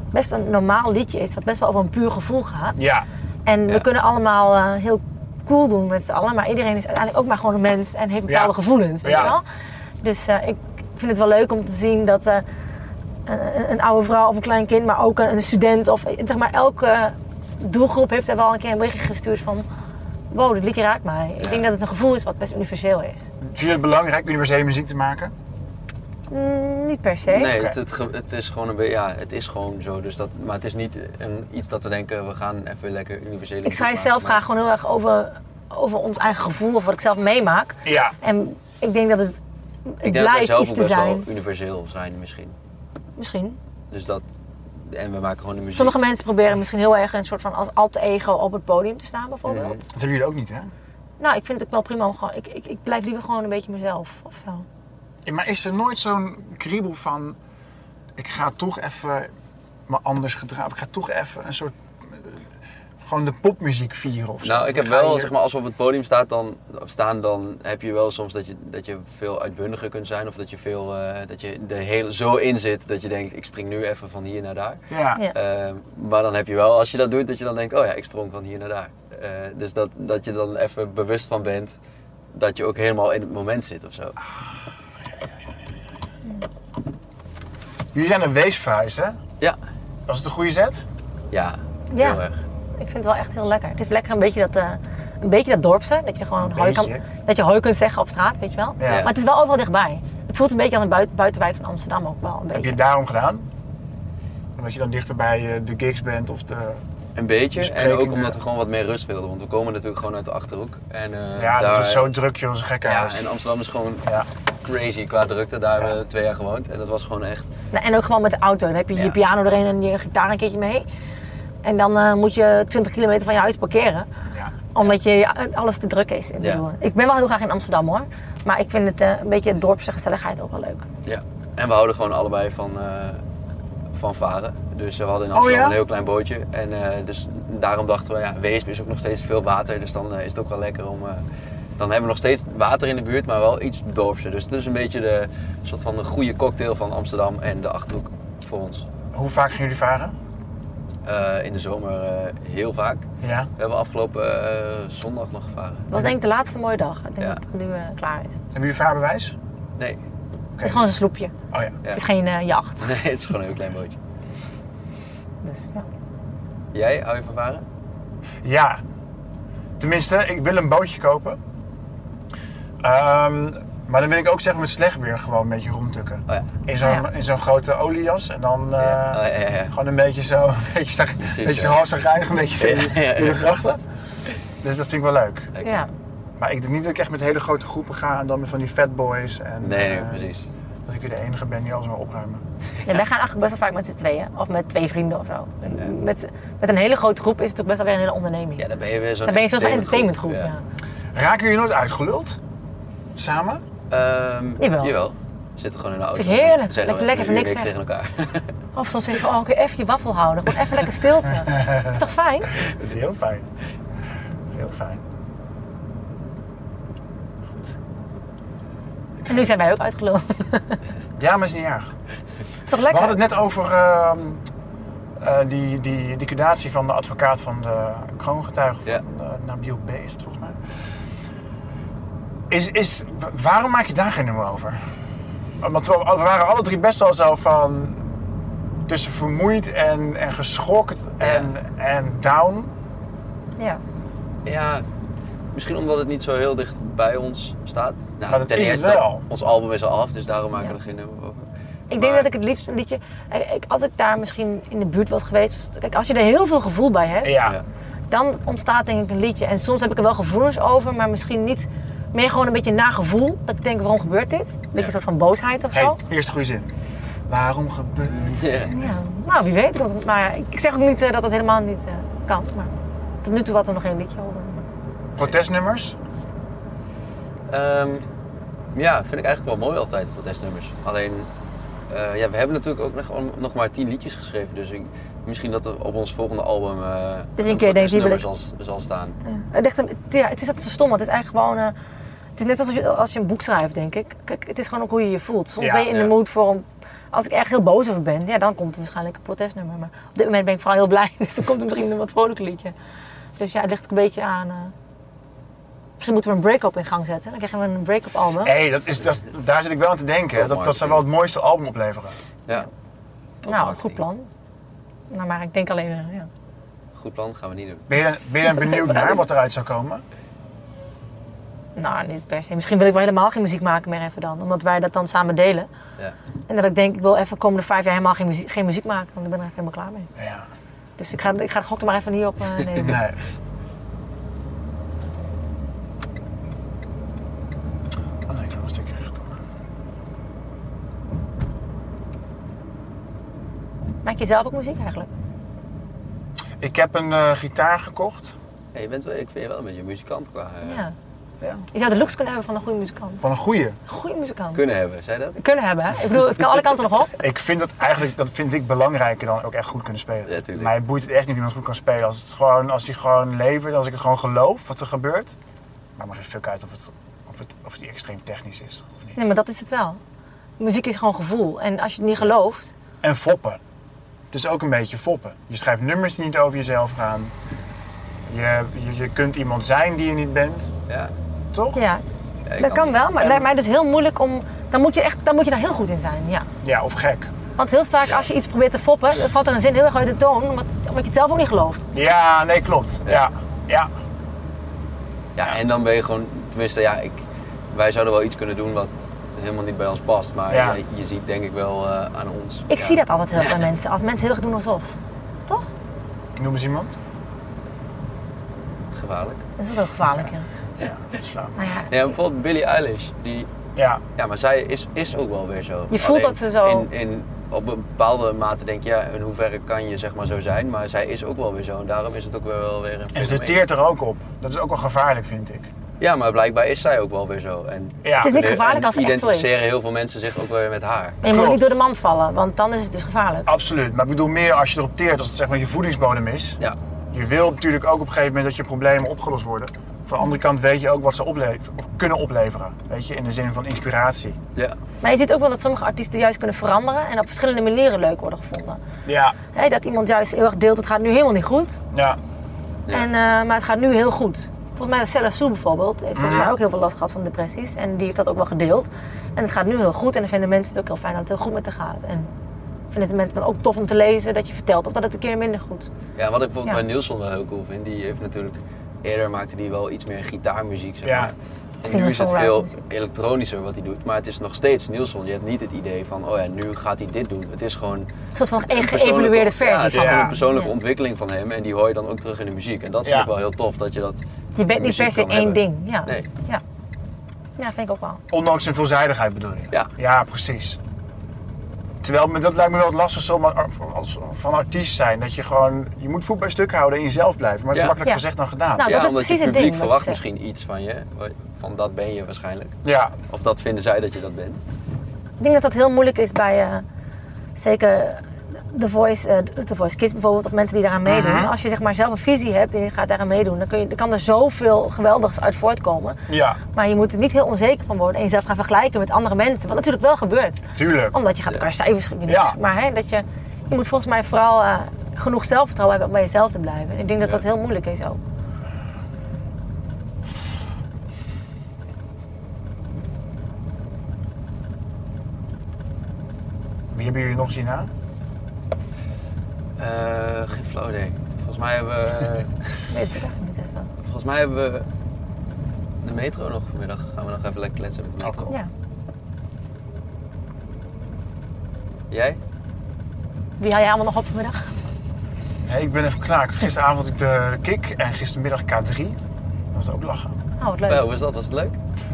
best een normaal liedje is, wat best wel over een puur gevoel gaat.
Ja,
En
Ja.
we kunnen allemaal eh, heel cool doen met z'n allen, maar iedereen is uiteindelijk ook maar gewoon een mens en heeft bepaalde
Ja.
gevoelens, weet
Ja.
je wel? Dus eh, ik vind het wel leuk om te zien dat eh, een, een oude vrouw of een klein kind, maar ook een, een student of eh, zeg maar elke doelgroep heeft er wel een keer een berichtje gestuurd van wow, dit liedje raakt mij. Ik
Ja.
denk dat het een gevoel is wat best universeel is.
vind je het belangrijk universele muziek te maken?
Mm, niet per se.
Nee,
Oké.
het, het, ge- het is gewoon een beetje, ja, het is gewoon zo. Dus dat, maar het is niet een, iets dat we denken, we gaan even lekker universele
Ik
muziek
schrijf
maken,
zelf
maar-
graag gewoon heel erg over, over ons eigen gevoel of wat ik zelf meemaak.
Ja.
En ik denk dat het, het
Ik denk dat wij
blijft
zelf
iets
ook
te
best
zijn.
wel universeel zijn misschien.
Misschien.
Dus dat, en we maken gewoon de muziek.
Sommige mensen proberen misschien heel erg een soort van als alter ego op het podium te staan bijvoorbeeld.
Dat hebben jullie ook niet, hè? Mhm.
Nou, ik vind het ook wel prima om gewoon, ik, ik, ik blijf liever gewoon een beetje mezelf of zo.
Ja, maar is er nooit zo'n kriebel van... ik ga toch even me anders gedragen. Ik ga toch even een soort... eh, gewoon de popmuziek vieren of zo.
Nou, ik heb
ga
wel,
hier-
zeg maar, als we op het podium staat, dan, staan, dan heb je wel soms dat je, dat je veel uitbundiger kunt zijn. Of dat je, veel, eh, dat je er heel, zo in zit dat je denkt, ik spring nu even van hier naar daar.
Ja.
Ja.
Ehm, maar dan heb je wel, als je dat doet, dat je dan denkt, oh ja, ik sprong van hier naar daar. Eh, dus dat, dat je dan even bewust van bent dat je ook helemaal in het moment zit of zo.
Jullie zijn een weesverhuis, hè?
Ja,
Was het een goede zet?
ja,
Ja.
Heel erg.
Ik vind het wel echt heel lekker. Het heeft lekker een beetje dat, eh, een beetje dat dorpse. Dat je gewoon hoi kan,
beetje.
dat je hoi kunt zeggen op straat, weet je wel.
Ja.
Maar het is wel overal dichtbij. Het voelt een beetje als een buiten, buitenwijk van Amsterdam ook wel. Een
Heb
beetje.
je het daarom gedaan? Omdat je dan dichter bij eh, de gigs bent of de...
Een beetje. En
Besprekingen.
ook omdat we gewoon wat meer rust wilden. Want we komen natuurlijk gewoon uit de Achterhoek. En, eh,
Ja, dat
daar-
is zo druk joh, dat is een gekke
Ja,
huis.
en Amsterdam is gewoon
Ja.
crazy qua drukte. Daar hebben we twee jaar gewoond. En dat was gewoon echt...
Nou, en ook gewoon met de auto. Dan heb je je
Ja.
piano erin en je gitaar een keertje mee. En dan eh, moet je 20 kilometer van je huis parkeren.
Ja.
Omdat je, eh, alles te druk is. Ik,
Ja.
bedoel, ik ben wel heel graag in Amsterdam hoor. Maar ik vind het eh, een beetje het dorpse gezelligheid ook wel leuk.
Ja. En we houden gewoon allebei van, eh, van varen. Dus eh, we hadden in Amsterdam
Oh, ja?
een heel klein bootje. En eh, dus daarom dachten we, ja, Weesp is ook nog steeds veel water. Dus dan eh, is het ook wel lekker om... eh, dan hebben we nog steeds water in de buurt, maar wel iets dorpser. Dus het is een beetje de soort van de goede cocktail van Amsterdam en de Achterhoek voor ons.
Hoe vaak gaan jullie varen?
Eh, in de zomer eh, heel vaak.
Ja.
We hebben afgelopen eh, zondag nog gevaren.
Het was denk ik de laatste mooie dag. Ik denk
Ja.
dat het nu eh, klaar is.
Hebben jullie vaarbewijs?
Nee, *laughs*
Oké.
Het is gewoon een sloepje.
Oh ja.
Ja.
Het is geen eh, jacht.
nee, het is gewoon een heel klein bootje.
Dus, ja.
Jij, hou je van varen?
Ja. Tenminste, ik wil een bootje kopen. Ehm, maar dan wil ik ook zeggen met slecht weer gewoon een beetje rondtukken.
Oh ja.
In zo'n,
Ja.
in zo'n grote oliejas en dan eh,
Ja. Oh, ja, ja, ja.
gewoon een beetje zo, *laughs* een beetje, zag, een beetje zo
ja.
half zagrijnig, een beetje zo in de-
Ja, ja, ja.
in de grachten. Dus dat vind ik wel leuk.
Lekker.
ja.
Maar ik denk niet dat ik echt met hele grote groepen ga en dan met van die fatboys. En,
Nee, nee,
eh,
precies.
Dat ik hier de enige ben die alles maar opruimen.
Ja, wij gaan eigenlijk best wel vaak met z'n tweeën. Of met twee vrienden of zo. En Met, z'n- met een hele grote groep is het ook best wel weer een hele onderneming.
Ja, dan ben je weer zo'n
Dan ben je zo'n soort van entertainmentgroep.
entertainmentgroep,
Ja.
Raken jullie nooit uitgeluld? Samen?
*laughs* Ehm,
Jawel.
jawel. We zitten gewoon in de auto.
Vind ik heerlijk.
Zeggen
Lekker-
we
lekker
even
voor
uur
niks
tegen elkaar. *laughs*
Of soms zeg je, oh, oké, even je waffel houden. Gewoon even lekker stilte.
*laughs*
is toch fijn?
Dat is heel fijn. Heel fijn.
En nu zijn wij ook uitgeluld.
Ja, maar is niet erg.
*laughs* is toch
We
lekker?
hadden het net over ehm, eh, die, die liquidatie van de advocaat van de kroongetuige van
Ja.
eh, Nabil B. is het volgens mij. Is, is, wa- waarom maak je daar geen nummer over? Want we, we waren alle drie best wel zo van tussen vermoeid en, en geschokt en, en down.
Ja.
ja, misschien omdat het niet zo heel dicht bij ons staat. Nou,
Maar dat
ten
is het
eerste,
wel.
ons album is al af, dus daarom maken
Ja.
we er geen nummer over.
Ik denk
Maar-
dat ik het liefst een liedje... eh, Ik, als ik daar misschien in de buurt was geweest... Kijk, als je er heel veel gevoel bij hebt...
Ja.
Ja.
dan ontstaat denk ik een liedje. En soms heb ik er wel gevoelens over, maar misschien niet... Meer gewoon een beetje nagevoel. Dat ik denk, waarom gebeurt dit? Een beetje
Ja.
een soort van boosheid of
Hey,
zo.
eerst goede zin. Waarom gebeurt
*laughs* Ja.
Ja, nou, wie weet. Want, maar ik zeg ook niet eh, dat dat helemaal niet eh, kan. Maar tot nu toe had er nog geen liedje over.
protestnummers?
Ehm, ja, vind ik eigenlijk wel mooi altijd, protestnummers. Alleen, eh, ja, we hebben natuurlijk ook nog, nog maar tien liedjes geschreven. Dus ik, misschien dat er op ons volgende album eh
Dus een keer denk je, die wil
protestnummer zal, zal staan.
Het, ligt, hem- ja, het is altijd zo stom, want het is eigenlijk gewoon... eh, het is net als je, als je een boek schrijft, denk ik. Kijk, het is gewoon ook hoe je je voelt. Soms
Ja,
ben je in de
ja.
mood voor een... Als ik echt heel boos over ben, ja, dan komt er waarschijnlijk een protestnummer. Maar op dit moment ben ik vooral heel blij, *laughs* dus dan komt er misschien een wat vrolijk liedje. Dus ja, het ligt ook een beetje aan... eh, misschien moeten we een break-up in gang zetten. Dan krijgen we een break-up album.
Hé, dat is dat, daar zit ik wel aan te denken. hè. Dat, dat zou wel het mooiste album opleveren.
Ja. Top
nou,
marketing.
goed plan. Nou, maar ik denk alleen... eh, ja.
Goed plan, gaan we niet doen.
Ben je, ben je dan benieuwd naar wat eruit zou komen?
Nou, niet per se. Misschien wil ik wel helemaal geen muziek maken meer even dan. Omdat wij dat dan samen delen.
Ja.
En dat ik denk, ik wil even de komende vijf jaar helemaal geen muziek, geen muziek maken. Want ik ben er even helemaal klaar mee.
Ja.
Dus ik ga, ik ga het gok er maar even niet op eh, nemen.
Nee. Oh nee, ik doe nog een stukje rechtdoor.
Maak je zelf ook muziek eigenlijk?
Ik heb een eh, gitaar gekocht.
Hey, je bent wel, ik vind je wel een beetje een muzikant qua eh,
Ja.
Ja.
Je zou de looks kunnen hebben van een goede muzikant.
Van een goeie.
Goede muzikant.
kunnen hebben, zei dat?
Kunnen hebben, hè? Ik bedoel, het kan alle kanten nog op.
Ik vind dat eigenlijk dat vind ik belangrijker dan ook echt goed kunnen spelen.
Ja, tuurlijk.
Mij boeit het echt niet of iemand goed kan spelen. Als, het gewoon, als hij gewoon levert, als ik het gewoon geloof wat er gebeurt. Maakt me geen fuck uit of het, of het of die extreem technisch is of niet.
Nee, maar dat is het wel. Muziek is gewoon gevoel. En als je het niet gelooft...
En foppen. Het is ook een beetje foppen. Je schrijft nummers die niet over jezelf gaan. Je, je, je kunt iemand zijn die je niet bent,
Ja.
toch?
Ja,
Ja, ik
dat kan wel. Maar het
En-
lijkt mij dus heel moeilijk om... Dan moet je, echt, dan moet je daar heel goed in zijn, ja.
Ja, of gek.
Want heel vaak als je iets probeert te foppen, dan valt er een zin heel erg uit de toon. Omdat, omdat je het zelf ook niet gelooft.
Ja, nee, klopt. Ja. Ja.
Ja, en dan ben je gewoon, tenminste, ja, ik, wij zouden wel iets kunnen doen wat helemaal niet bij ons past. Maar
Ja.
ja, je ziet denk ik wel eh, aan ons.
Ik
ja.
zie dat altijd heel veel bij mensen. Als mensen heel erg doen alsof. Toch?
Noem eens iemand.
Gevaarlijk.
Dat is ook heel gevaarlijk, ja.
Ja, dat is flauw.
Nou ja,
Ja, bijvoorbeeld Billie Eilish, die,
Ja,
ja, maar zij is, is ook wel weer zo.
Je voelt dat ze zo-
In, in, op een bepaalde mate denk je, ja, in hoeverre kan je zeg maar zo zijn, maar zij is ook wel weer zo. En daarom is het ook weer wel weer een
en ze
fenomeen.
dus teert er ook op. Dat is ook wel gevaarlijk, vind ik.
Ja, maar blijkbaar is zij ook wel weer zo. En
Ja.
Het is niet gevaarlijk
en
als het echt zo is.
identificeren heel veel mensen zich ook wel weer met haar.
En je moet
Klopt.
niet door de mand vallen, want dan is het dus gevaarlijk.
Absoluut. Maar ik bedoel meer als je erop teert, als het zeg maar je voedingsbodem is.
Ja.
Je wil natuurlijk ook op een gegeven moment dat je problemen opgelost worden. Van de andere kant weet je ook wat ze ople- kunnen opleveren. Weet je, in de zin van inspiratie.
Ja.
Maar je ziet ook wel dat sommige artiesten juist kunnen veranderen en op verschillende manieren leuk worden gevonden.
Ja,
Hè, dat iemand juist heel erg deelt, het gaat nu helemaal niet goed,
ja.
Ja.
en, eh, maar het gaat nu heel goed. Volgens mij Stella Soe bijvoorbeeld, heeft volgens mij ook heel veel last gehad van depressies en die heeft dat ook wel gedeeld. En het gaat nu heel goed en dan vinden mensen het ook heel fijn dat het heel goed met haar gaat. En vinden het mensen dan ook tof om te lezen dat je vertelt of dat het een keer minder goed.
Ja, wat ik bijvoorbeeld
Ja.
bij Nielsen wel heel cool vind, die heeft natuurlijk eerder maakte die wel iets meer gitaarmuziek zeg
Ja.
maar. En nu is het
Singer-songwriter
veel
muziek.
elektronischer wat hij doet, maar het is nog steeds Nielsen. Je hebt niet het idee van, oh ja, nu gaat hij dit doen. Het is gewoon
Een soort van een
persoonlijke-
geëvalueerde
Ja, het
versie
is
van
ja.
gewoon
hem.
een persoonlijke
Ja.
ontwikkeling van hem en die hoor je dan ook terug in de muziek. En dat vind
Ja.
ik wel heel tof, dat je dat
Je bent niet
muziek
per se
kan
één
hebben.
ding. Ja.
Nee.
ja. Ja, vind ik ook wel.
Ondanks zijn veelzijdigheid bedoel je?
Ja.
Ja, precies. Terwijl, me- dat lijkt me wel het lastigste om ar- als, van artiest zijn. Dat je gewoon, je moet voet bij stuk houden en jezelf blijven. Maar dat is
Ja.
makkelijker
Ja.
gezegd dan gedaan.
Nou,
ja,
dat is
omdat
precies
het
het ding
publiek
wat
verwacht
je zegt.
misschien iets van je, van dat ben je waarschijnlijk.
Ja,
Of dat vinden zij dat je dat bent.
Ik denk dat dat heel moeilijk is bij eh, zeker The Voice, eh, The Voice Kids bijvoorbeeld, of mensen die daaraan meedoen.
Mhm.
Als je zeg maar zelf een visie hebt en je gaat daaraan meedoen, dan, kun je, dan kan er zoveel geweldigs uit voortkomen.
ja,
Maar je moet er niet heel onzeker van worden en jezelf gaan vergelijken met andere mensen. Wat natuurlijk wel gebeurt.
tuurlijk.
Omdat je gaat elkaar cijfers geven. dus
Ja.
Maar hè, dat je, je moet volgens mij vooral eh, genoeg zelfvertrouwen hebben om bij jezelf te blijven. En ik denk dat dat heel moeilijk is ook.
Wie hebben jullie nog zien aan?
Eh geen flauw idee. Volgens mij hebben *laughs* we...
Ik Weet het ook eigenlijk niet even.
Volgens mij hebben we de metro nog vanmiddag. Gaan we nog even lekker kletsen met de metro.
Ja.
Jij?
Wie haal je allemaal nog op vanmiddag?
Nee, ik ben even klaar. Gisteravond ik de kick en gistermiddag K3. Dat was ook lachen.
Oh, wat leuk.
Ja, hoe is dat? Was het leuk?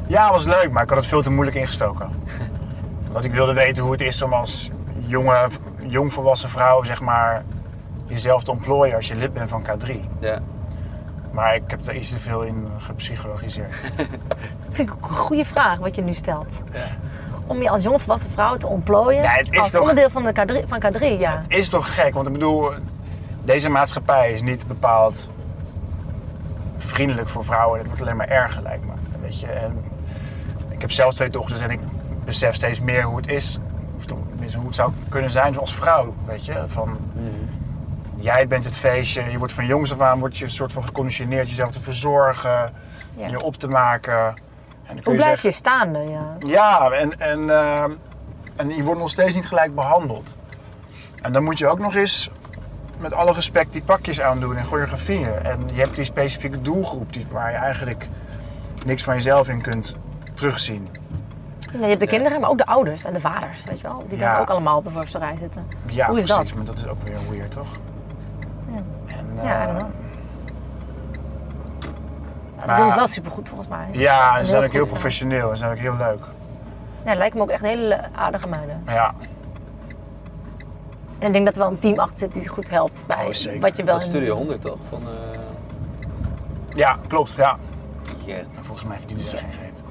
Ja, was leuk, maar ik had het veel te moeilijk ingestoken. *laughs* Omdat ik wilde weten hoe het is om als jonge, jongvolwassen vrouw, zeg maar, jezelf te ontplooien als je lid bent van K3.
Ja.
Maar ik heb daar iets te veel in gepsychologiseerd.
Vind ik ook een goede vraag wat je nu stelt. Om je als jonge volwassen vrouw te ontplooien
Ja, het is
als
toch-
onderdeel van, de K3, van K3, ja.
Is toch gek, want ik bedoel, deze maatschappij is niet bepaald vriendelijk voor vrouwen. Het wordt alleen maar erger, lijkt me. Weet je, en ik heb zelf twee dochters en ik besef steeds meer hoe het is. Of tenminste, hoe het zou kunnen zijn als vrouw, weet je. Van,
Mhm.
Jij bent het feestje, je wordt van jongs af aan word je een soort van geconditioneerd jezelf te verzorgen,
Ja.
je op te maken. En dan kun
Hoe blijf
zeggen-
je staande, ja.
ja, en, en, eh, en je wordt nog steeds niet gelijk behandeld. En dan moet je ook nog eens met alle respect die pakjes aandoen en choreografieën. En je hebt die specifieke doelgroep die, waar je eigenlijk niks van jezelf in kunt terugzien.
Je hebt de kinderen, maar ook de ouders en de vaders, weet je wel. Die
Ja.
dan ook allemaal op de voorste rij zitten.
Ja,
Hoe is
precies,
dat?
maar dat is ook weer weird, toch? En,
Ja, I
eh,
don't know. Ze
Maar-
doen het wel supergoed volgens mij.
ja, en ze zijn ook
goed
heel
in.
professioneel en ze zijn ook heel leuk.
Ja, lijkt me ook echt hele aardige meiden.
Ja,
En ik denk dat er wel een team achter zit die ze goed helpt bij
Oh, zeker.
wat je wel...
Dat is
in-
Studio 100 toch? Van eh
ja klopt. Ja.
Gert.
En volgens mij verdienen ze geen reet.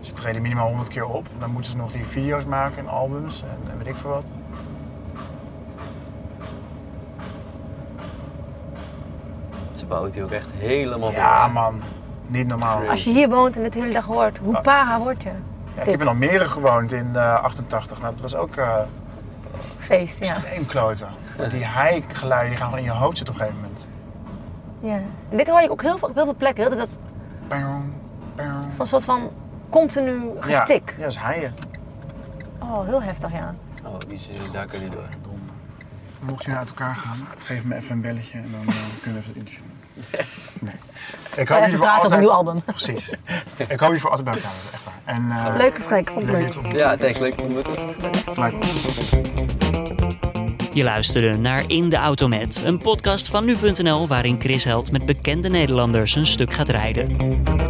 Ze treden minimaal 100 keer op. Dan moeten ze nog die video's maken en albums en, en weet ik veel wat.
Ze bouwt die ook echt helemaal
Ja,
voor.
man. Niet normaal.
Als je hier woont en dit de hele dag hoort, hoe
Ah.
para word je?
Ja, ik
Dit
heb in Almere gewoond in eh, 88. Nou, dat was ook eh
feest, ja.
extreem kloten. Die hijgeluiden die gaan gewoon in je hoofd zitten op een gegeven moment.
ja. En dit hoor je ook heel veel, op heel veel plekken. Heel de tijd dat
Bang, bang.
Zo'n soort van continu
Ja,
getik.
Ja, dat is haaien.
Oh, heel heftig, ja.
Oh, die is, daar kun je door.
Mocht je nou uit elkaar gaan, geef me even een belletje en dan eh, kunnen we even het interview doen. Nee. Ik hoop
even
jullie voor
praten over
altijd...
een nieuw album.
Precies. Ik hoop jullie voor altijd bij elkaar. Echt waar. En, eh,
Leuk gesprek, vond ik
leuk
leuk.
je te ontmoeten.
Ja, thanks. Leuk ontmoeten.
Gelijk.
Je luisterde naar In de Auto Met, een podcast van nu.nl waarin Chris Held met bekende Nederlanders een stuk gaat rijden.